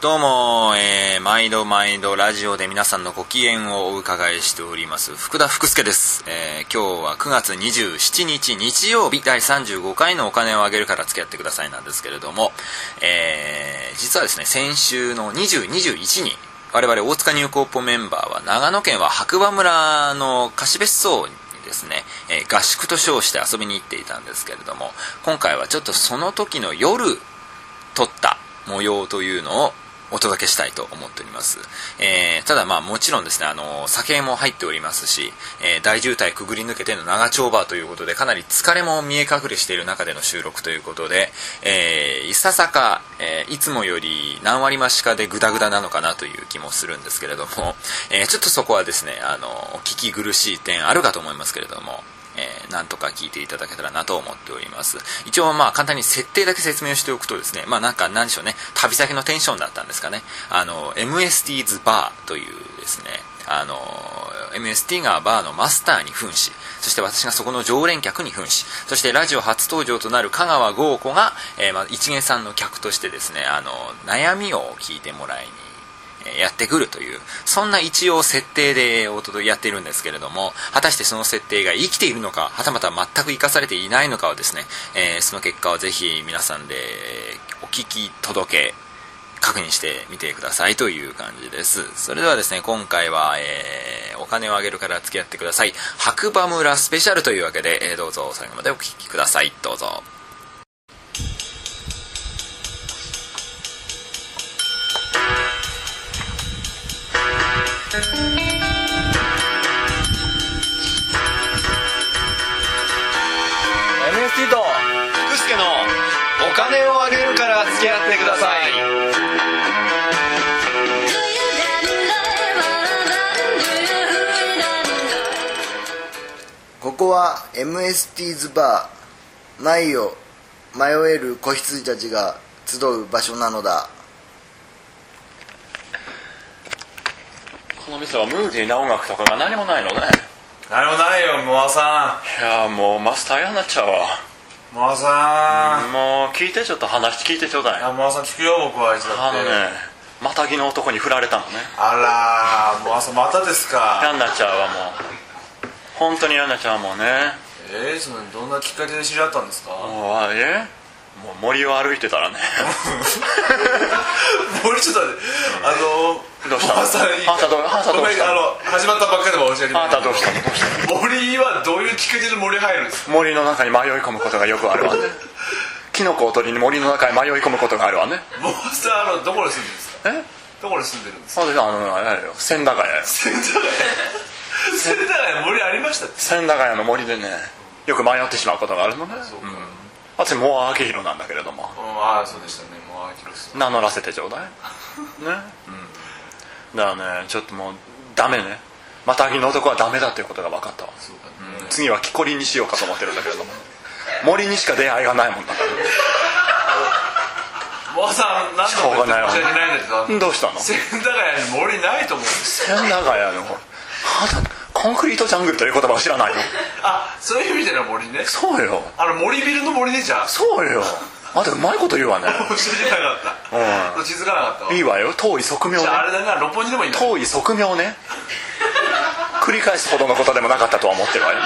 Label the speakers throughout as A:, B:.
A: どうも、えー、毎度毎度ラジオで皆さんのご機嫌をお伺いしております福田福助です、えー、今日は9月27日日曜日第35回のお金をあげるから付き合ってくださいなんですけれども、えー、実はですね先週の2021に我々大塚入高ポメンバーは長野県は白馬村の貸別荘にですね、えー合宿と称して遊びに行っていたんですけれども今回はちょっとその時の夜撮った模様というのをお届けしたいと思っております、えーただまあもちろんですねあの酒も入っておりますし、えー大渋滞くぐり抜けての長丁場ということでかなり疲れも見え隠れしている中での収録ということで、えーいささか、えーいつもより何割増しかでグダグダなのかなという気もするんですけれども、えーちょっとそこはですねあのお聞き苦しい点あるかと思いますけれどもえーなんとか聞いていただけたらなと思っております一応まあ簡単に設定だけ説明をしておくとですねまあなんか何でしょうね旅先のテンションだったんですかねあの MST's バーというですねあの MST がバーのマスターに扮しそして私がそこの常連客に扮しそしてラジオ初登場となる香川豪子が、えーまあ、一元さんの客としてですねあの悩みを聞いてもらいにえーやってくるというそんな一応設定でお届けやっているんですけれども果たしてその設定が生きているのかはたまた全く生かされていないのかはですね、えーその結果をぜひ皆さんでお聞き届け確認してみてくださいという感じですそれではですね今回は、えーお金をあげるから付き合ってください白馬村スペシャルというわけで、えーどうぞ最後までお聞きくださいどうぞ
B: 福助のお金をあげるから付き合ってください
C: ここは MST's バー迷を迷える子羊たちが集う場所なのだ
A: この店はムーディーな音楽とかが何もないのね
D: 何もないよモアさ
A: いやもうマスター嫌になっちゃうわ
D: んモアさん
A: もう聞いてちょっと話聞いてちょうだい
D: あモアさん聞くよ僕はあいつだ
A: あ
D: っ
A: の
D: て
A: ねまたぎの男に振られたのね
D: あらーモアさんまたですか
A: 嫌になっちゃうわもう本当に嫌になっちゃうもんね
D: えー、そのどんなきっかけで知り合ったんですか
A: もうあえもう森を歩いてたらね
D: 俺ちょっと待ってあの
A: どうした
D: モアさんいいか
A: あんたどうあんたどう
D: ごめん
A: した
D: あの始まったばっかりで申し訳ない
A: あんたどうしたのどうした
D: 森はどういうきっかけで森入るんですか
A: の森の中に迷い込むことがよくあるわねキノコを取りに森の中に迷い込むことがあるわね
D: モアさんあのどこに住んでるんですか
A: え
D: どこに住んでるんですか
A: そうですあのあれだよ千駄ヶ谷よ
D: 千駄ヶ谷千駄ヶ谷森ありましたって
A: 千駄ヶ谷の森でねよく迷ってしまうことがあるのね
D: そうか、うん、
A: 私もう明宏なんだけれども
D: ああそうでしたねモアキロス
A: 名乗らせてちょうだいねうんだからねちょっともうダメねまたぎの男はダメだっていうことが分かったわ
D: そうかね、
A: 次は木こりにしようかと思ってるんだけれども森にしか出会いがないもんだか
D: モアさん何
A: しょうがないわ
D: 申し訳ないんですけど
A: らどうしたの
D: 千駄ヶ谷に森ないと思うんです
A: 千駄ヶ谷のほらあなたコンクリートジャングルという言葉を知らないの
D: あそういう意味での森ね
A: そうよ
D: あの森ビルの森ねじゃあ
A: そうよあなたうまいこと言うわね
D: 知らなかった、
A: う
D: 気づかなかったわ
A: いいわよ遠い側面
D: じ
A: ね
D: ゃああれだな六本木でもいいな
A: 遠い側面ね繰り返すほどのことでもなかったとは思ってるわよ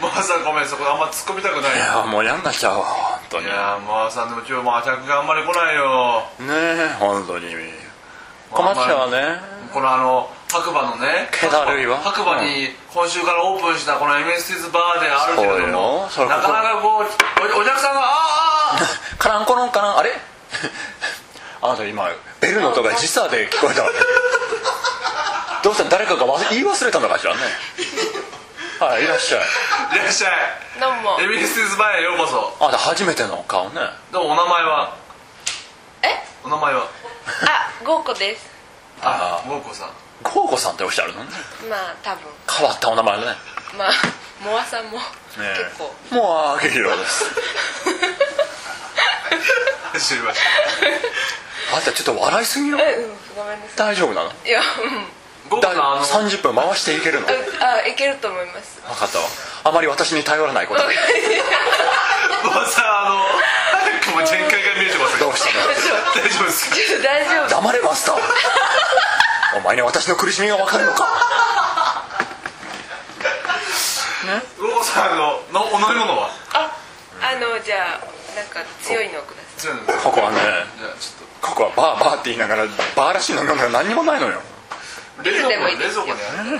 D: モアさんごめんそこあんま突っ込みたくない
A: いやもう嫌になっちゃうわ本当に
D: いやーモアさんでも今日まあ客があんまり来ないよ
A: ねえ本当に困っちゃうわね
D: このあの白馬のね
A: 気だるいわ
D: 白馬に今週からオープンしたこの MST's バーであるけれども
A: そうよそれこ
D: な
A: そ
D: かなかこうおお客さんがあーあー
A: カランコロンカランあれ あなた今ベルの音が時差で聞こえたわ ねどうした誰かが忘れ言い忘れたのかしらねはいいらっしゃい
D: あーいらっしゃい
E: どうも
D: MST's バーへようこそ
A: あなた初めての顔ね
D: どうもお名前は
E: え
D: お名前は
E: あゴーコです
D: あゴーコさん
A: ゴーゴさんっておっしゃるのね
E: まあ多分
A: 変わったお名前だねね
E: まあモアさんも
A: え
E: 結構、
A: もうあげひろです
D: 知りまし
A: あなたちょっと笑いすぎよ
E: えうんごめんなさ
A: 大丈夫なの
E: いいやうん
D: たゴーコ
A: だ
D: さんあの
A: 30分回していけるの分
E: ああいけると思います
A: かったわあまり私に頼らないことで
D: ゴーコさんあのもう全開が見えてますけ
F: どうしたの
D: 大丈夫ですか
E: 大丈夫
F: 黙れマスター お前に私の苦しみが分かるのか
D: ロコさんあののお飲み物は
E: ああのじゃあなんか強いのをくださ
D: じゃあ
F: ここはね
D: ちょ
F: ここはバーバーって言いながらバーらしいの飲むの何にもないのよ
D: っと冷蔵庫に冷蔵庫にある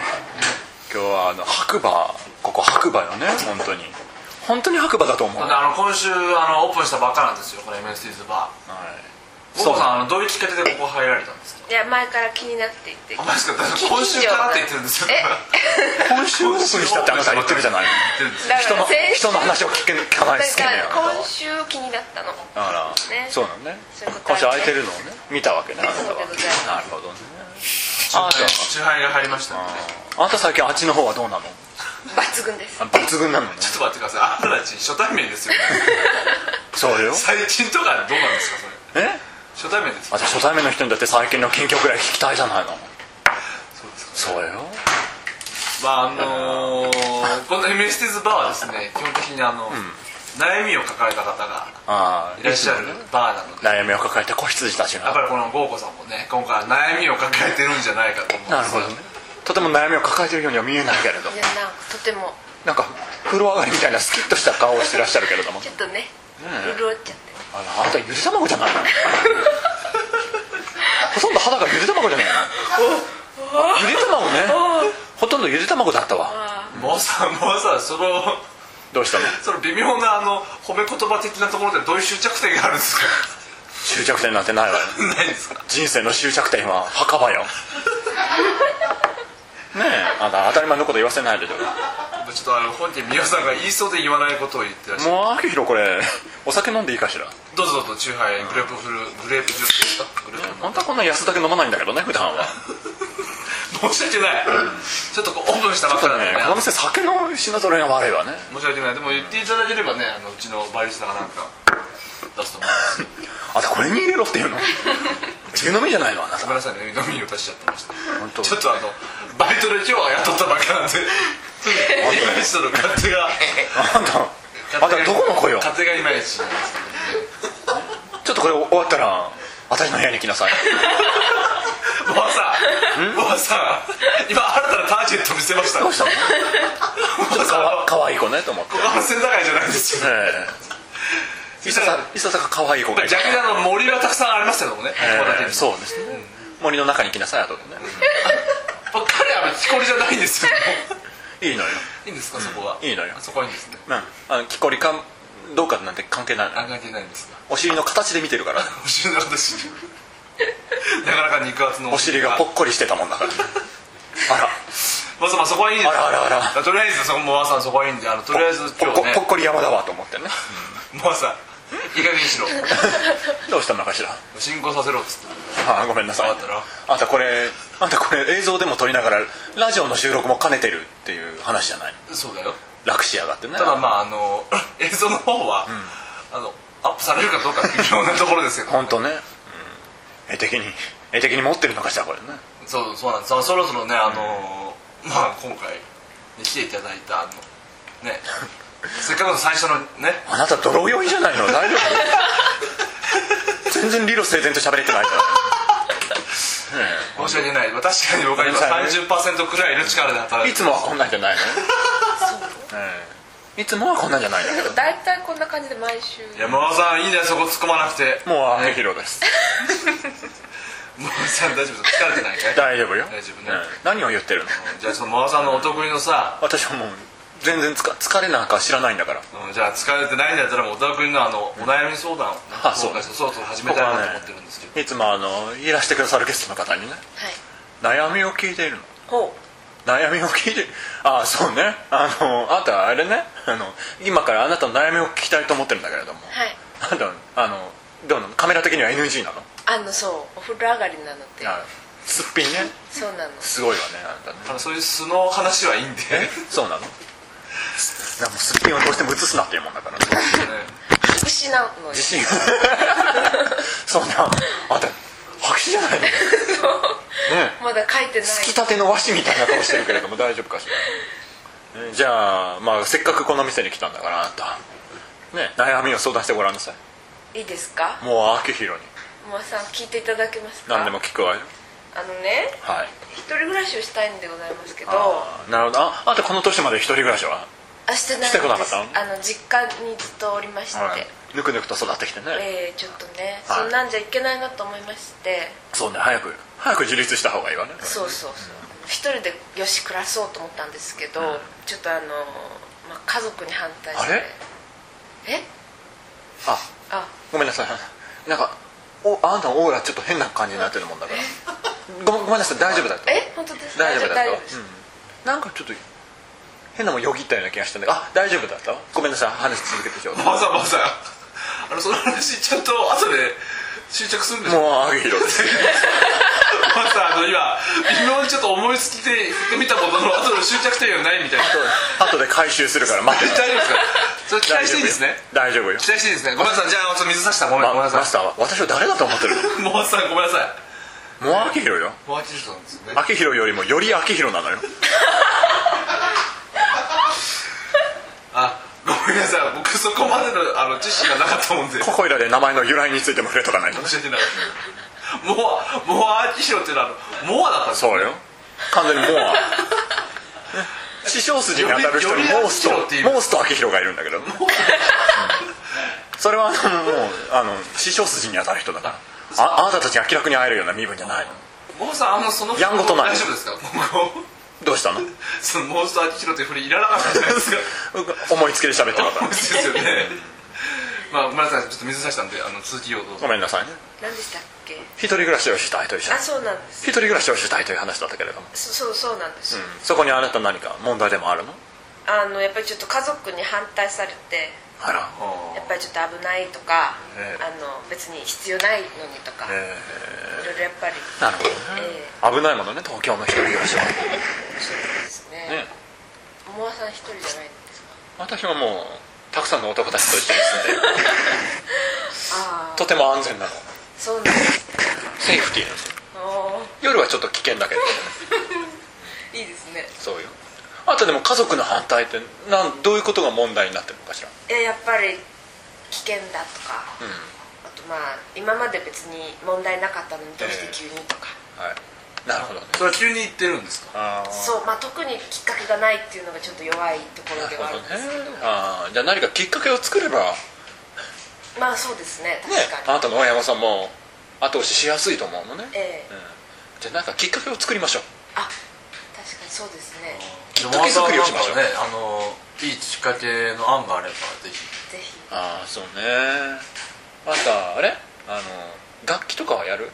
F: 今日はあの白馬ここ白馬よね本当に本当に白馬だと思う、
D: だって
F: はい、
D: あの今週あのオープンしたばっかなんですよこの MST's バー
F: そ
D: ロ
F: う
D: コさんあのどういうきっかけでここ入られたんですか
E: いいや前から気になっていて
D: あマジですか私今週からって言ってるんです よ
E: え
F: 今週オープンしたってあなた言ってるじゃない
E: だか
F: 人の
E: ら先週
F: 人の話を聞け聞かないですけどね
E: なん
F: あな
E: か
F: たは
E: 今週気になったの
F: だから
E: ね
F: そうなんね
E: そういうこと
F: 今
E: あるね
F: 週空いてるのをね見たわけねあなたは
E: そうでございます
F: なるほどねあなたは
D: チューハイが入りましたので
F: あなた最近あっちの方はどうなの
E: 抜群です
F: あ抜群なのね
D: ちょっと待ってくださいあなたたち初対面ですよ
F: そうよ
D: 最近とかどうなんですかそれ
F: え
D: 初対面です
F: 私初対面の人にだって最近の近況ぐらい聞きたいじゃないの
D: そうですか
F: そうよ
D: まああのー、この MST's バーはです ね基本的にあの、悩みを抱えた方が
F: ああ
D: いらっしゃるバーなので
F: 悩みを抱えた子羊たち
D: やっ
F: が
D: ぱりこの豪子さんもね今回は悩みを抱えてるんじゃないかと思うんですよ
F: なるほどねとても悩みを抱えてるようには見えないけれど
E: いやなんかとても
F: なんか風呂上がりみたいなスキッとした顔をしてらっしゃるけれども
E: ちょっとね
F: え
E: 潤っちゃって
F: あらあなたゆで卵じゃないのほとんど肌がゆで卵じゃ ないのゆで卵ねほとんどゆで卵だったわ
D: もうさもうさその
F: どうしたの
D: その微妙なあの褒め言葉的なところでどういう執着点があるんですか
F: 終着点なんてないわよ
D: ないですか
F: 人生の終着点は墓場よ ねえあんた当たり前のこと言わせないでしょ
D: ちょっとあの本人美代さんが言いそうで言わないことを言ってらっしゃる
F: もうあきひろこれお酒飲んでいいかしら
D: どうぞどうぞチューハイグレープフルグレープジュースですかグレープ
F: 本当はこんな安だけ飲まないんだけどね普段は
D: 申し訳ないちょっとこうオープンしたばっか
F: ただ
D: なんで
F: ね
D: ね
F: この店酒の品揃えが悪いわね
D: 申し訳ないでも言っていただければねあのうちのバリスタがなんか出すと思いますよ
F: あんたこれに入れろっていうの湯飲みじゃないのあなた
D: ごめんなさいね飲みを出しちゃってました
F: 本当
D: ちょっとあのバイトで今日は雇ったばっかなんで
F: 本当
D: イマイチとの勝手が
F: あんたあんたどこの子よ
D: 勝手がいまいちなんですけど
F: ちょっとこれ終わったら私の部屋に来 なさい
D: ボアさんボアさん今新たなターゲット見せました
F: ど
D: ボ
F: う
D: ア
F: したのか
D: さん
F: わ
D: は
F: かわいい子ねと思って
D: ここは世田谷じゃないんですよ
F: ええいささいささかかわいい子がいる
D: 逆にあの森はたくさんありますけどもねここだけ
F: ええ
D: に
F: そうですね森の中に来なさい後でね
D: 彼は木こりじゃないんですよ
F: いいのよ
D: いいんですかそこはい
F: いのよ
D: そこはいいんですね
F: うんあの木こりかどうかなんて関係ないの
D: あ
F: よ
D: 関係ないんですか
F: お尻の形で見てるから
D: お尻の私なかなか肉厚の
F: お尻がぽっこりしてたもんだからあら
D: まあそうまあそこはいいんです
F: あらあらあ
D: とりあえずそこもあさんそこはいいんであのとりあえず
F: ぽ
D: 今
F: っこ
D: 日ね
F: ぽっこり山だわと思ってね
D: もうさんいい加減にしろ
F: どうしたのかしら
D: 進行させろっつって
F: ああごめんなさい
D: わかったな
F: あんたこれあんたこれ映像でも撮りながらラジオの収録も兼ねてるっていう話じゃない
D: そうだよ
F: 楽しやがってね
D: ただまああの 映像の方は、あのアップされるかどうか微妙なところですけど
F: 本当ね、うん、絵的に絵的に持ってるのかしらこれね
D: そうそうなんですあそろそろねあの、まあ今回、ね、来ていただいたあのねせっかくの最初のね
F: あなた泥酔いじゃないの大丈夫 全然理路整然と喋れてないじゃない、ね
D: 申し訳ない確かに僕は今
F: ごめんな
D: 30%くらいの力で働
F: え
D: い
F: い
D: て
F: つもはこんなんじゃないの、ええいつもはこんなんじゃないの
E: でも大体こんな感じで毎週
D: 山尾さんいいねそこ突っ込まなくて
F: もうあひろです
D: もうさん大丈夫ですか疲れてないかい
F: 大丈夫よ
D: 大丈夫ね
F: ええ何を言ってるの
D: じゃあちょっと真央さんのお得意のさ、
F: 私はもう全然つか疲れなんか知らないんだから
D: うんじゃあ疲れてないんだったらもうお得意のあのお悩み相談をね、
F: あそう
D: 今回そろそろ始めたいなと思ってるんですけど、
F: いつもあのいらしてくださるゲストの方にね
E: はい
F: 悩みを聞いているの
E: ほ
F: 悩みを聞いてああそうねあのあなたあれねあの今からあなたの悩みを聞きたいと思ってるんだけれども、
E: うはい
F: あなたあのどうなのカメラ的には NG なの
E: あのそうお風呂上がりなので
F: あすっぴんね
E: そうなの
F: すごいわねあなたね
D: あのそういう素の話はいいんで、
F: え そうなのすなんかもうすっぴんをどうしても映すなっていうもんだから
E: 白紙なのよ
F: 自信が そうなあんた白紙じゃないのねえ
E: まだ書いてない
F: 突きたての和紙みたいな顔してるけれども大丈夫かしらねじゃあ,、まあせっかくこの店に来たんだからあなた、ね、悩みを相談してごらんなさい
E: いいですか
F: もう秋広に
E: 馬さん聞いていただけますか
F: 何でも聞くわよ
E: あのね
F: はい
E: 一人暮らしをしたいんでございますけどあ
F: あーなるほどああんたこの年まで一人暮らしは
E: してない
F: してこなか
E: で
F: っ
E: す
F: たの
E: あの実家にずっとおりまして、
F: ぬくぬくと育ってきてね、
E: えー、ちょっとね、
F: はい
E: そんなんじゃいけないなと思いまして
F: そうね早く早く自立した方がいいわね
E: そうそうそう一人でよし暮らそうと思ったんですけど、ちょっとあの、まあ、家族に反対して
F: あれ
E: え
F: あ
E: あ
F: ごめんなさいなんかおあんたのオーラちょっと変な感じになってるもんだからごめんごめんなさい大丈夫だった
E: え本当ですか
F: 大丈夫だった
E: です
F: うん、なんかちょっと変なもんよぎったような気がしたんだけどあ大丈夫だったごめんなさい話続けてちょうだい
D: まさまさあのその話ちゃんと後で執着するんでしょ
F: もうあげひろです
D: まさあの今微妙にちょっと思いつきで見たものの後の執着点がないみたいな
F: 後で回収するから待 って
D: 大丈夫ですかそれ期待していいですね
F: 大丈夫よ
D: 期待していいですねごめんなさいじゃあちょっと水差したごめんごめん
F: ま
D: なさ
F: マス
D: い
F: ターは私を誰だと思ってるの
D: もうさごめんなさい
F: もうあげひろよ
D: もう飽きる人なんですよね
F: あけひろよりもよりあけひろなのよ
D: あごめんなさい僕そこまでのあの知識がなかったもんで
F: ここいらで名前の由来についても触れとかないと
D: 申し訳ないもうもう飽きるっていうのはあのモアだったんです
F: そうよ完全にモアね師匠筋に当たる人にモース
D: よりより明宏っていう
F: とモースと明宏がいるんだけど、うんそれはあのもうあの師匠筋に当たる人だからああなたたちが気楽に会えるような身分じゃないの
D: モアさんあのその
F: やんごとない
D: 大丈夫ですかここ
F: どうしたの
D: そのモンスター秋広というふうにいらなかったじゃない ですか
F: 思いつきで喋ってるから
D: ですよねまあごめんなさいちょっと水差したんであの続きをどうぞ
F: ごめんなさいね
E: 何でしたっけ
F: 一人暮らしをしたいという
E: あそうなんです
F: 一人暮らしをしたいという話だったけれども、
E: そそうそうなんです、
F: そこにあなた何か問題でもあるの
E: あのやっぱりちょっと家族に反対されて
F: あら
E: やっぱりちょっと危ないとか、
F: ええ
E: あの別に必要ないのにとか、
F: え
E: いろいろやっぱり
F: ーなるほどね、
E: え
F: 危ないものね東京の一人暮らしはね
E: そうですねモアさん一人じゃないんですか
F: 私はもうたくさんの男たちと一緒に 住んでいる
E: ああ
F: とても安全なの
E: そうなんですね
F: セーフティーなの
E: おー
F: 夜はちょっと危険だけどね
E: いいですね
F: そうよあとでも家族の反対ってなんどういうことが問題になってるのかしら
E: えやっぱり危険だとか、あとまあ今まで別に問題なかったのにどうして急にとか、
F: はいなるほどね
D: それは急に言ってるんです
F: あ
D: か
F: ー
E: そうまあ特にきっかけがないっていうのがちょっと弱いところ
F: な
E: で
F: る
E: はあ
F: ほ
E: る
F: ど
E: んで
F: ね
E: すけど
F: あーじゃあ何かきっかけを作ればね
E: まあそうですね確かに、
F: あなたの親御さんも後押ししやすいと思うのね、
E: ええ
F: うん、じゃあ何かきっかけを作りましょう
E: あ確かにそうですね
F: きっかけ作りをしましょう
D: でもモアさんなんかねあのいいきっかけの案があればぜひ
E: ぜひ
F: ああそうねあんたあれあの楽器とかはやる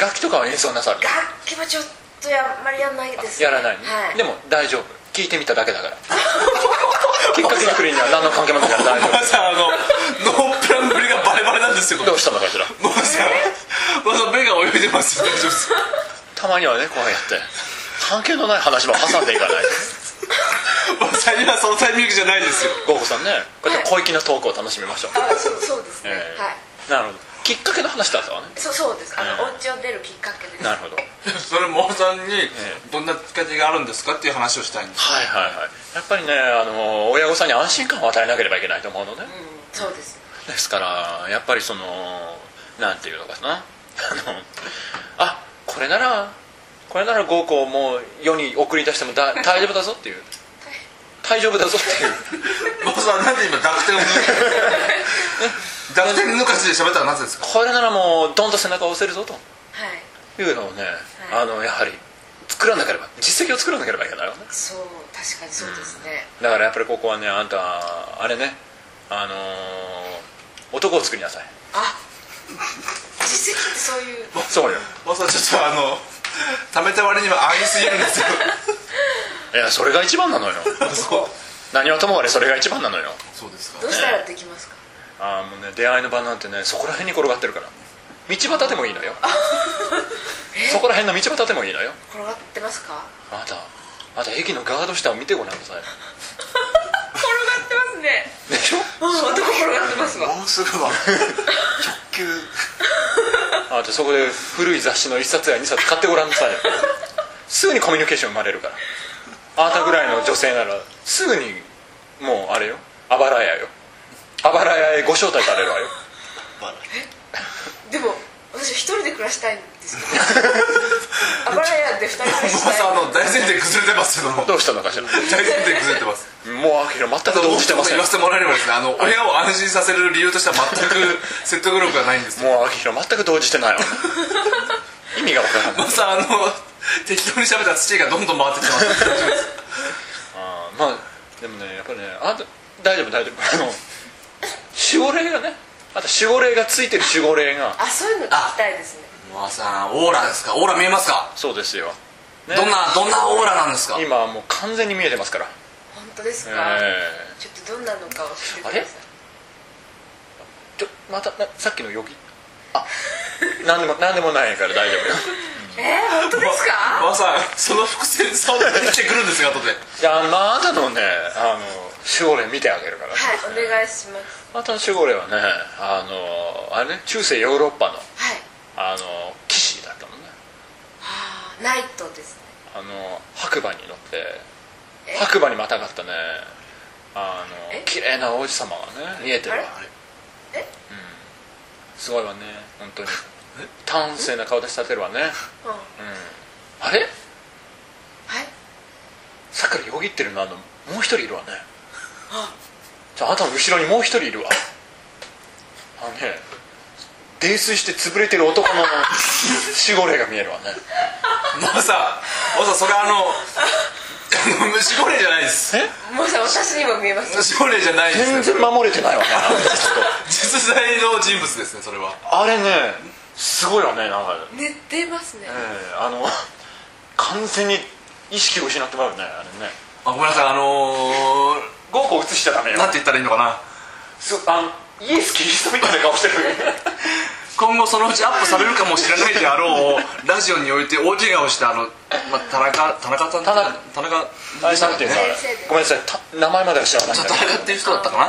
F: 楽器とかは演奏なさるの
E: 楽器はちょっとやあんまりやらないです、ね、
F: やらないね、
E: はい、
F: でも大丈夫聞いてみただけだから きっかけ作りには何の関係もないから大丈
D: モアさんあのノープランぶりがバレバレなんですよ
F: 夫どうしたのかしら
D: モアさんモアさん目が泳いでますよ大丈夫ですか
F: たまにはねこうやって関係のない話も挟んでいかない
D: モアさん今そのタイミングじゃないですよ
F: ゴーゴさんねこうやって小粋なトークを楽しみましょう、
E: あそうそうですね、
F: えー
E: はい
F: なるほどきっかけの話だったわね
E: そうそうですあの、
F: えー
E: お家を出るきっかけです
F: なるほどはい
D: それモアさんにどんなきっかけがあるんですかっていう話をしたいんです
F: はいはいやっぱりねあの親御さんに安心感を与えなければいけないと思うのね、
E: うん、そうです
F: ですからやっぱりそのなんていうのかなあのあこれならこれなら合コンをもう世に送り出しても だ大丈夫だぞっていう大丈夫だぞっていう
D: モアさんなんで今濁点を抜く濁点抜かしで喋 ったらなぜですか
F: これならもうどんと背中を押せるぞと
E: はい
F: いうのをね、
E: はい
F: あのやはり作らなければ実績を作らなければいけないよね
E: そう確かにそうですね、
F: だからやっぱりここはねあんたあれねあのー男を作りなさい
E: あ実績ってそういう
F: そうよ
D: もうさちょっとあの貯めた割には上げすぎるんですよ
F: いやそれが一番なのよ
D: そう
F: 何はともあれそれが一番なのよ
D: そうですか
E: どうしたらできますか
F: ああもうね出会いの場なんてねそこら辺に転がってるから道端でもいいのよ そこら辺の道端でもいいのよ
E: 転がってますか
F: あなたあなた駅のガード下を見てごらんなさい
E: 転がってますね
F: でしょ
E: うん男転がってますわ
G: もうすぐは直球
F: あなたそこで古い雑誌の1冊や2冊買ってごらんなさいよすぐにコミュニケーション生まれるからあなたぐらいの女性ならすぐにもうあれよあばらやよあばら屋へご招待されるわよ
D: バラ
E: でも私一人で暮らしたいんですよあばら屋で二人暮らし
D: ま
E: た
D: さ
E: い
D: あの大前提崩れてますけども
F: どうしたのかしらもう
D: 大前提崩れてます
F: あきら全く動じてません
D: 言
F: も
D: わせてもらえればですねあの親を安心させる理由としては全く説得力がないんですけど
F: うあきら全く動じて ないわ意味がわからない
D: まさあの適当に喋った土がどんどん回ってきてます
F: あーまあでもねやっぱりねあんた大丈夫大丈夫あの守護霊がねあと守護霊がついてる守護霊が
E: あそういうの聞きたいですね
D: まさんオーラですかオーラ見えますか、
F: そうですよ、ね
D: どんなどんなオーラなんですか
F: 今はもう完全に見えてますから
E: 本当です
F: え
E: か、
F: え
E: ちょっとどんなのか教えてください
F: ちょまたなさっきのよぎあなんでもなんでもないから大丈夫よ
E: えー、本当ですか
D: まさんその伏線さを出してくるんですよ後で
F: いやまああなたのねあの守護霊見てあげるか
E: は
F: ら
E: いお願いします
F: あなたの守護霊はねあのあれね中世ヨーロッパの
E: はい
F: あの騎士だったのね
E: あーナイトですね
F: あの白馬に乗って
E: え
F: 白馬にまたがったねあの
E: え
F: 綺麗な王子様がね見えてるわ
E: あれえ
F: うん、すごいわね本 当に端正な顔立ち立てるわね
E: うんは
F: うん あれ
E: い
F: さっきからよぎってるのあのもう一人いるわねじゃああなたの後ろにもう一人いるわあのね泥酔して潰れてる 男の守護霊が見えるわね
D: まさまさそれあのあの虫ゴレじゃないです
F: え
E: もうさ私にも見えます
D: 虫ゴレじゃないです
F: 全
D: ね
F: 然守れてないわねあの人ちょっ
D: 実在の人物ですねそれは
F: とあれねすごいわねなんか、
E: 寝てますね
F: ええあの完全に意識を失ってまうよねあれね
D: あごめんなさいあの
F: 5個映しちゃダメ
D: ー、
F: よ
D: なんて言ったらいいのかな
F: すあのイエス・キリストみたいな顔してる
D: 今後そのうちアップされるかもしれないであろうラジオにおいて大怪我をしたあの、まあ、田中田中さん
F: 田中
D: 田中
F: あれなんていうのあれごめんなさいた名前までは知らないんだけど
D: 田中っていう人だったかな、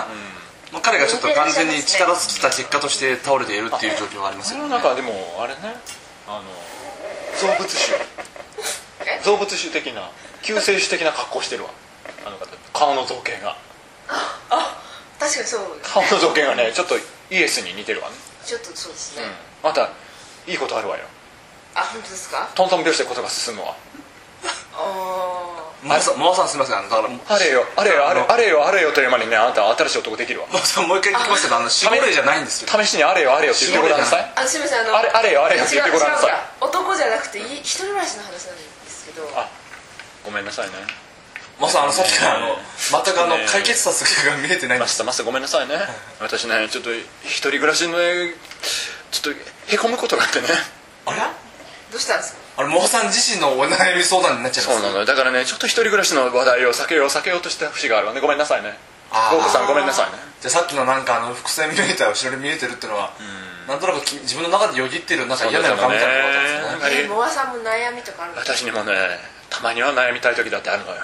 D: まあ、彼がちょっと完全に力尽きた結果として倒れているっていう状況があります
F: そ
D: よ
F: の
D: ね
F: 中でもあれねあの造物種
E: え
F: 造物種的な救世主的な格好してるわあの方顔の造形が
E: 確かにそうです
F: 顔の造形がねちょっとイエスに似てるわね、
E: ちょっとそうですね、
F: またいいことあるわよ
E: あ本当ですか
F: トントン拍子でことが進むわ
E: あ
D: マワさんマワさんすみませんあのだから
F: あれよあれよあれ
D: あの
F: あれよあれよという間にねあなたは新しい男できるわ
D: マワさんもう一回聞きますけどあの守護霊じゃないんですよ
F: 試しにあれよあれよって言ってごらんなさい
E: ーあすみませんあの
F: あれあれよあれよって言ってごらんなさい
E: 違う違う男じゃなくてい一人暮らしの話なんですけど
F: あごめんなさいね
D: マワさんあのさっきからあの全くあの
F: ね
D: 解決策が見えてないん
F: マ
D: で
F: ス
D: す
F: ターマスターごめんなさいね私ねちょっと一人暮らしのねちょっとへこむことがあってね
D: あれ
E: どうしたんですか
D: あれマワさん自身のお悩み相談になっちゃいま
F: そう
D: す
F: なのよだからねちょっと一人暮らしの話題を避けよう避けようとした節があるわねごめんなさいね
D: あー
F: ゴーコさんごめんなさいね
D: じゃあさっきのなんかあの伏線見えた後ろに見えてるっていうのはなんとなくき自分の中でよぎってるなんか嫌な予感みたいなのがあったんです
E: え
D: ね
E: モアさんも悩みとかあるんですか
F: 私にもねたまには悩みたい時だってあるのよ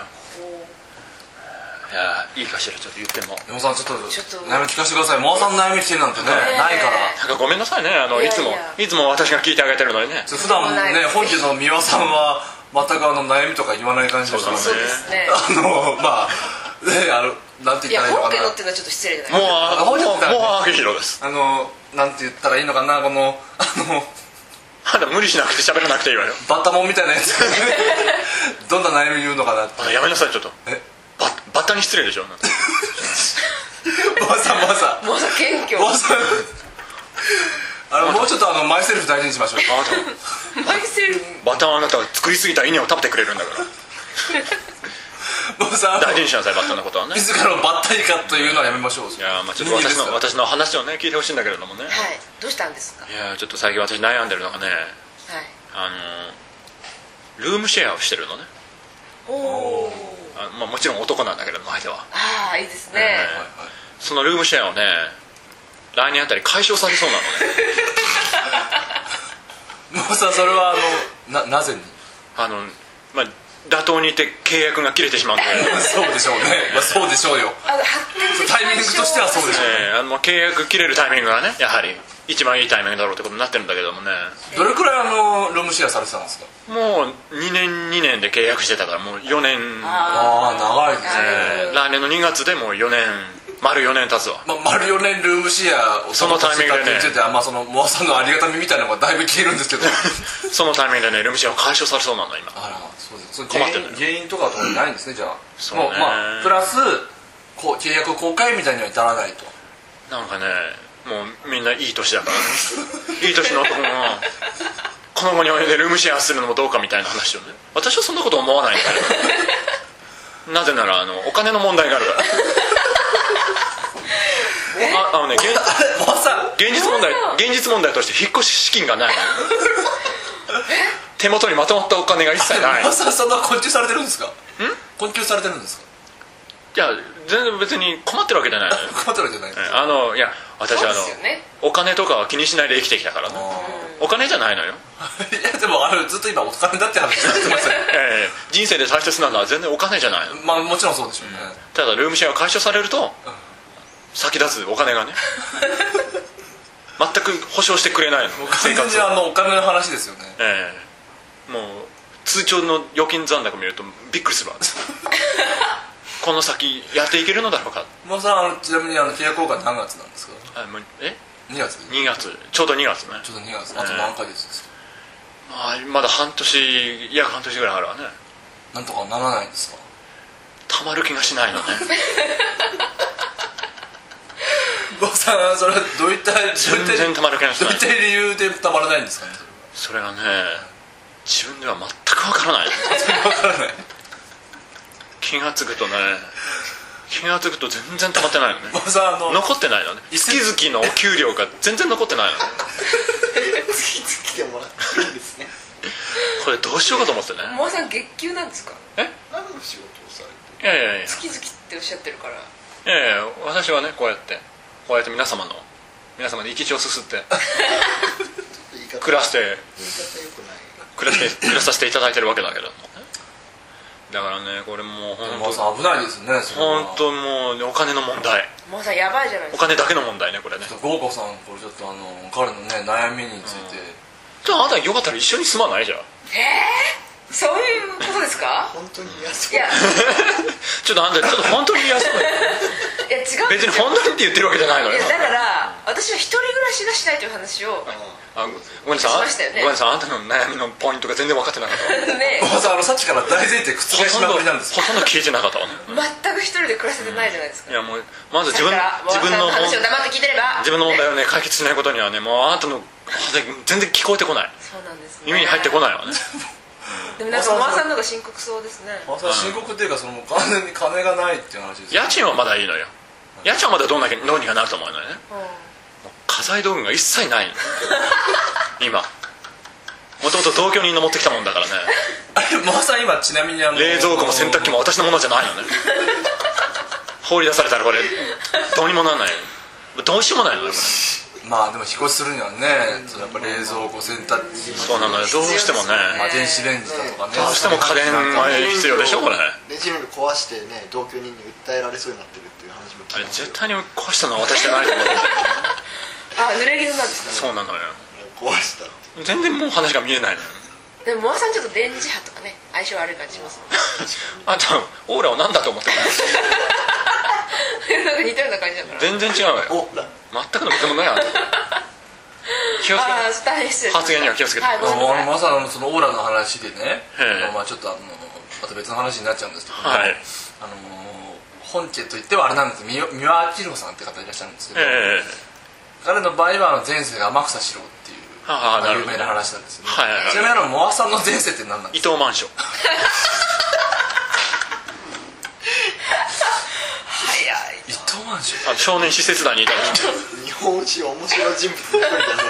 F: いやいいかしらちょっと言っても
D: 山本さんちょっ
E: ちょっと
D: と悩み聞かせてくださいマワさんの悩み聞けなんてね
E: え
D: ないか
F: な
D: ら
F: んかごめんなさいねあの
E: い
F: い
E: やいや
F: つもいつも私が聞いてあげてるのにね
D: 普段
E: ないで
D: ね
E: す
D: 本日の三輪さんは全くあの悩みとか言わない感じですからね
E: そうですね
D: あのまあねあのなんて
E: い
D: 言っ
E: や
D: た
E: 本
D: らいいのか
E: 家
D: な
E: のっていうのはちょっと失礼じゃ
F: も
E: な
F: う
E: い
F: あもう
D: ほう
F: も
D: ほうほう
F: う秋広です
D: あのなんて言ったらいいのかなこのあの
F: あんた無理しなくて喋らなくていいわよ
D: バッタモンみたいなや つどんな悩み言うのかなって
F: あやめなさいちょっと
D: え
F: バッバッタに失礼でしょあなた
D: まさまさ
E: モアさん謙虚
D: まさ あのもうちょっとあのマイセルフ大事にしましょう
F: あなた
E: マイセルフ
F: バターはあなたが作りすぎた稲を食べてくれるんだから
D: まさ
F: 大事にしなさいバッターのことはね
D: 自らのバッタイカというのはやめましょう
F: いやーまあちょっと私の私の話をね聞いてほしいんだけれどもね
E: はいどうしたんですかはい
F: やーちょっと最近私悩んでるのがね
E: い
F: あのールームシェアをしてるのね
E: おお
F: あ、まあ、もちろん男なんだけども相手は
E: ああいいですね
F: えそのルームシェアをね来年あたり解消されそうなの ね
D: まさそれはあのなな ぜに
F: あのまあ妥当に言って契約が切れてし まうんだけど
D: そうでしょうね、 まあ、そうでしょうよ
E: あの発展的
D: タイミングとしてはそうでしょう、
F: えーあのまあ契約切れるタイミングがねやはり一番いいタイミングだろうってことになってるんだけどもね
D: どれくらいあのルームシェアされてたんですか
F: もう2年2年で契約してたからもう4年
E: あ
D: ああ長いです
E: ね
F: えー来年の2月でもう4年丸4年経つわ
D: まあ、丸4年ルームシェアを
F: そのタイミングでね
D: についてあんまそのモアさんのありがたみみたいなのがだいぶ消えるんです けど
F: そのタイミングでねルームシェアを解消されそうなんだ今
D: あらそうですその
F: 困
D: 原
F: ってんの
D: 因
F: よ
D: 原因とかは特にないんですねじゃあ
F: そうね
D: もまあプラスこう契約公開みたいには至らないと
F: なんかねもうみんないい年だからいい年の男がこの後に及んでルームシェアするのもどうかみたいな話をね私はそんなこと思わないんだけどなぜならあのお金の問題があるからああのね現
D: モアさん
F: 現実問題現実問題として引っ越し資金がない 手元にまとまったお金が一切ない
D: モアさんそんな困窮されてるんですか困窮されてるんですか
F: いや全然別に困ってるわけじゃないのよ
D: 困ってるわけじゃないです
F: あのいや私
E: そう
F: あ
E: で
F: の、
E: すよね
F: お金とかは気にしないで生きてきたからねお金じゃないのよ、
D: いやでもあのずっと今お金だって話されてましたよ
F: ええ人生で大切なのは全然お金じゃないの
D: まあもちろんそうでしょうね、
F: ただルームシェアが解消されると先立つお金が ね全く保証してくれないの
D: もう完全にあのお金の話ですよね
F: ええもう通帳の預金残高見るとびっくりす るわこの先やっていけるのだろうか
D: モアさんあのちなみにあの契約公開何月なんですか
F: あもうえ
D: 2月
F: 2月ちょうど2月ね
D: ちょっと2月あと何回ですか
F: まあまだ半年約半年ぐらいあるわね
D: なんとかならないんですか
F: たまる気がしないのね
D: モアさんそれはどういったどうい
F: 全
D: った
F: 然たまる気がし
D: どう
F: ないい
D: った理由でたまらないんですかね
F: それがね自分では全くわからない
D: わからない
F: 気が付くとね気が付くと全然溜まってないのね
D: おばさんあの
F: 残ってない のね月々のお給料が全然残ってないのね
G: 来てもらっていいですね
F: これどうしようかと思ってね
E: モアさん月給なんですか
G: 何の仕事をされて
F: いやいやいやい
E: 月々っておっしゃってるから
F: やいや私はねこうやってこうやって皆様の皆様の生き血をすすって
G: 言い方
F: 暮らして
G: 言い方よくない
F: 暮らして暮らさせていただいてるわけだけどもねだからねこれもう
D: おば
F: 本
D: さん危ないですねそ
F: 当
D: れは
F: 本当もうねお金の問題
E: モアさんやばいじゃないで
F: お
E: すか
F: 金だけの問題ねこれね
D: ちょっと豪華さんこれちょっとあの彼のね悩みについて
F: じゃああなたよかったら一緒に住まないじゃん
E: そういうことですか
G: 本当に嫌
E: い
G: そう
E: やい
F: ちょっとあんたちょっと本当に嫌そうだよ
E: や違うんですよ
F: 別に本当にって言ってるわけじゃないの
E: い
F: よ
E: やだから私は一人暮らしがしたいという話を
F: あごごめんなさい
E: しましたよね
F: ごめんなさいあんたの悩みのポイントが全然分かってなか ったわ
E: ね
D: おばさんあのさっきから大前提覆し
F: ほと
D: ま
F: ん
D: く
F: ど
D: りなんですよ
F: ほとんど聞いてなかったわね
E: 全く一人で暮らせてないじゃないですか
F: いやもうまず自分
E: だからモアさ
F: 自
E: ん
F: 分の
E: の
F: 問
E: 話を黙って聞いてれば
F: 自分の問題をね解決しないことにはねもうあなたの全然聞こえてこない
E: そうなんです、ね、
F: 耳に入ってこないわね
E: でもなんかおばさんの方が深刻そうですね
D: おばさん深刻っていうかその完全に金がないっていう話ですよ
F: 家 賃はまだいいのよ家賃はまだどうなきゃどうにかなると思うのよね家財道具が一切ないの今もともと同居人の持ってきたもんだからね
D: あれおばさん今ちなみにあの
F: 冷蔵庫も洗濯機も私のものじゃないよね放り出されたらこれどうにもなんないよどうしようもないのよこれ
D: まあでも引っ越しするにはねやっぱ冷蔵庫洗濯機
F: そうなのよどうしてもね
D: まあ電子レンジだとかね
F: どうしても家電は必要でしょこれあ
C: レジメル壊してね同居人に訴えられそうになってるっていう話も聞
F: れ
C: いた
F: 絶対に壊したのは私じゃないと思う
E: あ濡れ衣なんですか
F: そうなのよ
C: 壊したって
F: 全然もう話が見えないのよ
E: でもモアさんちょっと電磁波とかね相性悪い感じしますもん
F: あんたオーラを何だと思ってる
E: なんか似たような感じだから
F: 全然違うわよ
C: おら
F: 全くの別もないあんた気をつ
E: ああ
F: け
E: 大変失礼
F: 発言には気をつけて
E: はいごめんな
D: あ
E: さ
D: の
E: い
D: まさにあのそのオーラの話でね
F: ええ
D: あのまあちょっとあのまた別の話になっちゃうんですけども
F: はい
D: あの本家といってはあれなんです三輪明宏さんって方いらっしゃるんですけど、
F: ええ
D: 彼の場合はあの前世が天草四郎っていう
F: ああなる
D: 有
F: ほど
D: 名な話なんですよね、
F: はいはいはい
D: ちなみにあのモアさんの前世って何なんで
F: 伊
D: す
F: 藤マンション
E: 早い
D: か伊藤満州
F: あの少年施設内にいたの
C: 日本史面白い人物の一人じゃないですか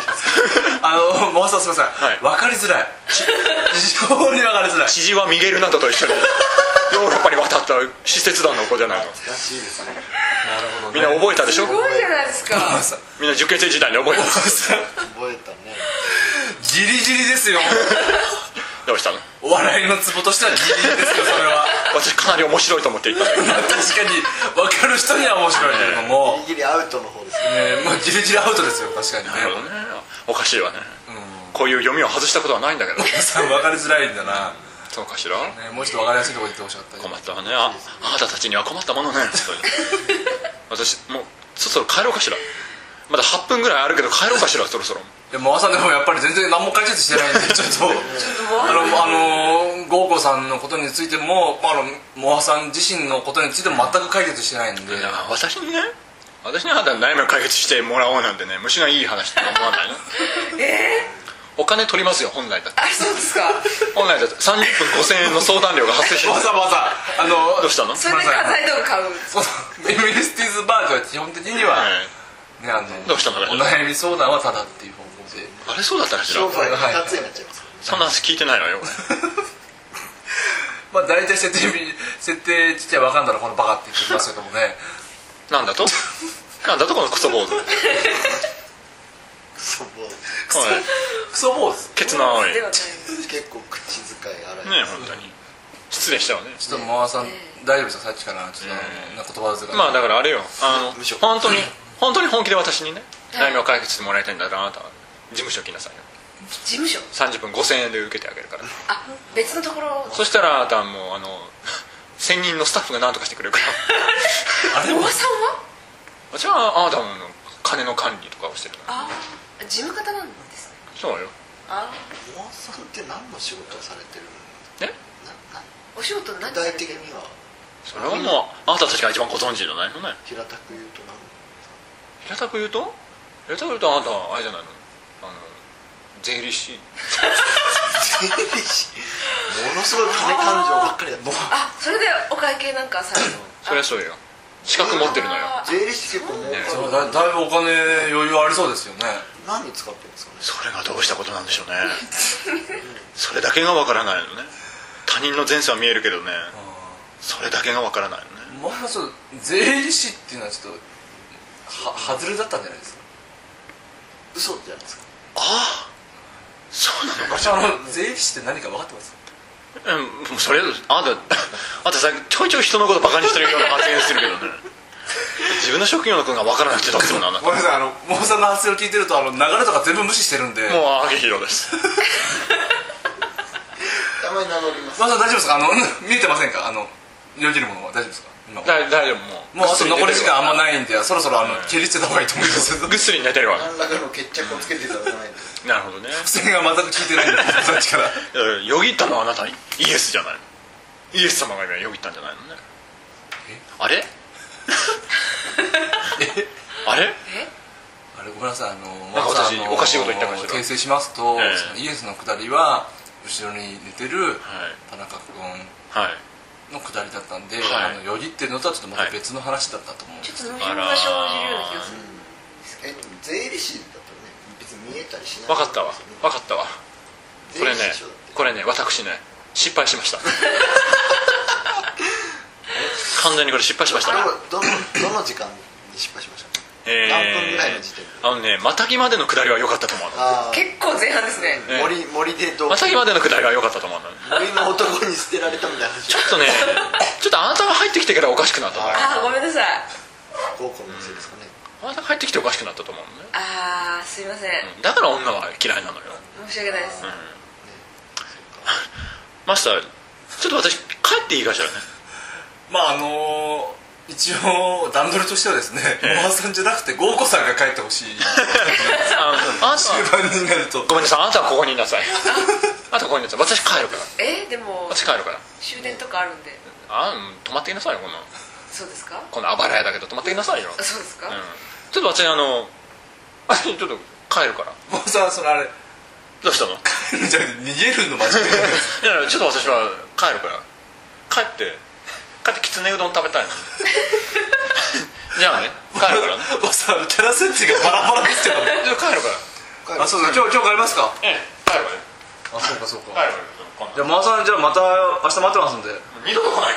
D: あのモアさんすいません、
F: はい
D: 分かりづらい非常に分かりづらい
F: 知事はミゲルなどと一緒にヨーロッパに渡った施設団の子じゃないの
C: らしいですね
D: なるほど
F: みんな覚えたでし
E: す
F: ょ
E: ごいじゃないです
D: モア
E: か
D: さん
F: みんな受験生時代に覚えた
C: 覚えたね
D: ギリギリですよ
F: どうしたの
D: お笑いのツボとしてはギリギリですよそれは
F: 私かなり面白いと思って言ったのよ
D: まあ確かに分かる人には面白いけれども、
C: ギリギリアウトの方ですね
D: えーまあ、ギリギリアウトですよ確かにね
F: なるほどねおかしいわねこういう読みを外したことはないんだけど
D: モアさん分かりづらいんだな、
F: そうかしら
D: ね、もうちょっと分かりやすいところ言ってほしかった
F: 困ったわねああなたたちには困ったものね本当に
H: 私もうそろそろ帰ろうかしらまだ8分ぐらいあるけど帰ろうかしらそろそろ
D: でも朝でもやっぱり全然何も解決してないん でちょっとあのあのゴーゴさんのことについてもあのモアさん自身のことについても全く解決してないんで
F: いや私にね私にあなたに悩みを解決してもらおうなんてね虫のいい話って思わないなお金取りますよ本来だって
E: あそうですか
F: 本来だって30分5000円の相談料が発生してる
D: わざわざあの
F: どうしたの
E: それで家財道具買う
D: そうそうエミリスティーズバーグは基本的には、
F: え
D: ねあの
F: どうしたの
D: お悩み相談はただっていう方向で
F: えあれそうだったかしら
C: 商売が2つになっちゃいますから
F: そんな話聞いてないわよ俺
D: まあ大体設定 設定ちっちゃい分かんだらこのバカって言ってきますけどもね
F: なんだとなんだとこのクソ坊 主
C: クソボー
F: おい
D: クソ坊主
F: ケツの青いね
E: ではない
C: 結構口遣い荒い、
F: え本当に失礼したわね
D: ちょっとモアさん大丈夫ですかさっきからちょっとあの、な言葉遣い
F: まあだからあれよあ
C: 無
F: の
C: 職
F: 本当 に本当に本気で私にね
E: はい
F: 悩みを解決してもらいたいんだったらあなたは事務所来なさいよ
E: 事務所
F: 30分5000円で受けてあげ るから
E: あ別のところ
F: そしたらあなたはもうあの 専任のスタッフが何とかしてくれるから
E: あれおばさんは
F: じゃああなたも金の管理とかをしてるから
E: ああ事務方なんですね
F: そうよ
E: あ
C: モアさんって何の仕事をされてるの
F: ね
C: なな
E: お仕事何
C: 具
E: され
C: 体
E: て
C: 的
E: る
C: には
F: それはもうあなたたちが一番ご存知じゃないのね
C: 平たく言うと何
F: 平たく言うと平たく言うとあなたはあれじゃないのあの税理士
C: ものすごい金感情ばっかりだもう
E: あそれでお会計なんかされるの
F: そりゃそうよ資格持ってるのよ
E: あー
C: 税理士結構儲
F: ね
D: そう
C: かる
D: だだいぶお金余裕ありそうですよね
C: 何に使ってるんですかね
F: それがどうしたことなんでしょうねそれだけがわからないのね他人の前世は見えるけどねそれだけがわからないのね
D: モアさんちょっと税理士っていうのはちょっとは外れだったんじゃないですか
C: 嘘じゃないですか
F: ああそうなのか
D: 私
F: しら
D: あの税理士って何か分かってます
F: うんもうそれあなたあなたさちょいちょい人のことバカにしてるような発言するけどね自分の職業のことがわからなくてどうするのあなた
D: ごめんなさいあのモアさんの発声を聞いてるとあの流れとか全部無視してるんで
F: もうあげひろです
C: たまに名乗ります
D: モアさん大丈夫ですかあの見えてませんかあのよぎるものは大丈夫ですか今も
F: だ大丈夫もう
D: うあと残り時間あんま
F: い
D: ないんでそろそろあの蹴りつけた方がいいと思い ます
F: ぐっすり寝てるわ
C: 何らかの決着をつけていただかないと
F: なるほどね
D: 付箋が全く効いて ないんですさっきから
F: えーよぎったのはあなたイエスじゃないのイエス様が今よぎったんじゃないのねあれあれ
D: あれごめんなさいあの
F: なんか私
D: まずあの
F: おかしいこと言ったかしら
D: 訂正しますと、
F: ええ
D: そのイエスの下りは後ろに寝てる田中君
F: はい
D: の下りだったんで、
F: はい
D: あのよぎってるのとはちょっとまた別の話だったと思うんで
E: ちょ
D: す、
E: っと無表が生じるような気がする
C: え税理士だとね別に見えたりしない
F: 分かったわ分かったわこ
C: 税
F: れ
C: 理
F: ね
C: 士でしょだって
F: これね私ね失敗しました 完全にこれ失敗しましたね
C: どのどのどの時間に失敗しましたか
F: えー
C: 何分ぐらいの時点で
F: あのねまたぎまでの下りは良かったと思うの
C: あー
E: 結構前半ですね
F: ええ
C: 森森でどう
F: またぎまでの下りは良かったと思うのね
C: 森の男に捨てられたみたいな話
F: ちょっとね ちょっとあなたが入ってきてからおかしくなったと思う
E: ああごめんなさい
C: 合コンのせいですかね
F: あなたが入ってきておかしくなったと思うのね
E: ああすいません
F: だから女は嫌いなのよ
E: 申し訳ないです
F: マスターちょっと私帰っていいかしらね
D: まああのー一応段取りとしてはですねモアさんじゃなくてゴーコさんが帰ってほしい
F: ああなた
D: 終
F: は
D: 盤になると
F: ごめんなさいあなたはここにいなさいあなたはここにいなさい私帰るから
E: えでも
F: 私帰るから
E: 終電とかあるんで
F: あうん泊まってきなさいよこの
E: そうですか
F: このあばら屋だけど泊まってきなさいよ、
E: あそうですか
F: うん、ちょっと私あのあちょっと帰るから
D: モアさんそれあれ
F: どうしたのい
D: じゃあ逃げる のマジで
F: やいやちょっと私は帰るから帰って帰ってきつねうどん食べ たいのじゃあね帰るからね
D: モアさんキャラ設定がバラバラですけど
F: じゃあ帰るから
D: あそうだ今日今日帰りますか
F: ええ帰るからね
D: あそうかそう
F: 帰るから
D: じゃあモアさんじゃあまた明日待ってますんで
F: 二度と来ない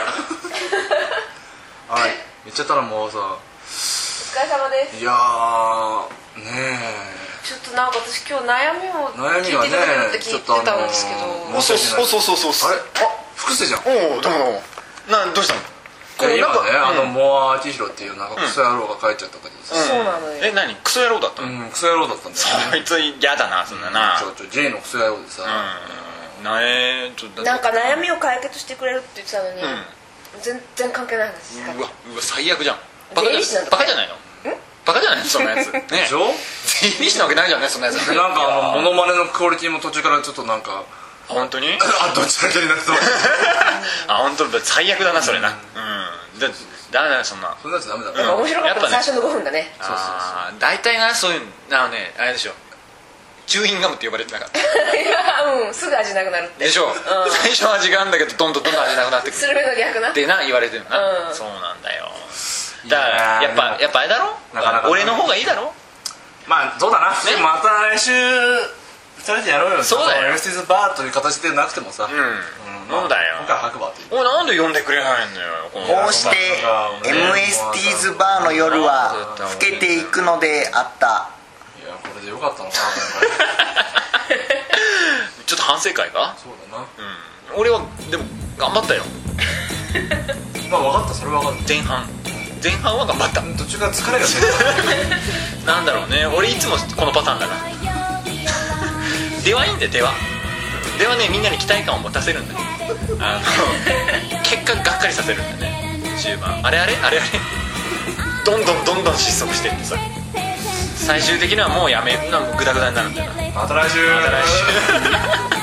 F: から
D: はい言っちゃったらもうさ
E: お疲れ様です
D: いやーね
E: ちょっとなんか私今日悩みを
D: え悩み
E: 聞い
D: は
E: ていただけるって
D: ね
E: 聞
D: ちょ
E: い
D: ってとあ
E: た
D: の
E: んですけど
D: 申し訳ない
F: そうそうそう
D: あ
F: そ
D: れあ福生じゃん
F: おおどうもどうもなんどうしたの
D: いや
F: なん
D: 今
F: か
D: ねあのモア明宏っていうなんかクソ野郎が帰っちゃったけどさ
E: そうなのよ
F: え何クソ野郎だった
D: う
F: の、
D: んクソ野郎だったんだよ
F: あ
D: ね
F: いつ嫌だなそんなな
D: ちょちょ J のクソ野郎でさ
F: うんなえちょっとだ
E: な
F: っ
E: ん
F: て
E: か悩みを解決してくれるって言ってたのに、全然関係ない話し
F: うわうわ最悪じゃんバカ
E: 税理
F: じ
E: 士な
F: ゃ
E: んだ
F: バカじゃないのバカじゃないのそんな やつね
D: でしょ
F: 税理士なわけないじゃんねそ んなやつ
D: でなんかあのモノマネのクオリティも途中からちょっとなんか
F: 本当に
D: あどっちらけになってた
F: あ本当だ最悪だなそれなうんだだだよそんな
D: そんなやつダメだ
E: やっぱ面白かったの
F: やっぱ
E: 最
F: ね
E: 初の5分だね
F: あー大体なそういうあのねあれでしょチューインガムって呼ばれてなかった
E: うんすぐ味なくなるって
F: でしょ、最初は味があるんだけどどんどんどんどん味なくなってくる
E: スルメの逆な
F: ってな言われてるな、
E: うん
F: そうなんだよだから
D: いやー
F: やっぱ
D: でも
F: やっぱあれだろ
D: なかなか
F: 俺の方がいいだろ
D: まあそうだな、また来週2人でやろうよ
F: そうだよ
D: エルスティズバーという形でなくてもさ、
F: う
D: うん
F: ん、
D: まあ
F: なんだよ
D: 今回は白馬という
F: おいなんで呼んでくれないんだよこの
C: こうして MST's バーの夜は更けていくのであった
D: いやこれでよかったのかな
F: ちょっと反省会か、
D: そうだな
F: うん、俺はでも頑張ったよ
D: まあ分かったそれは分かっ
F: 前半前半は頑張った
D: た途中から疲れが出てる
F: なんだろうね俺いつもこのパターンだな出はいいんだよ出は出はねみんなに期待感を持たせるんだよあの結果がっかりさせるんだよね終盤あれあれあれあれどんどんどんどん失速してってさ最終的にはもうやめなんかグダグダになるんだよな
D: また来週
F: また来週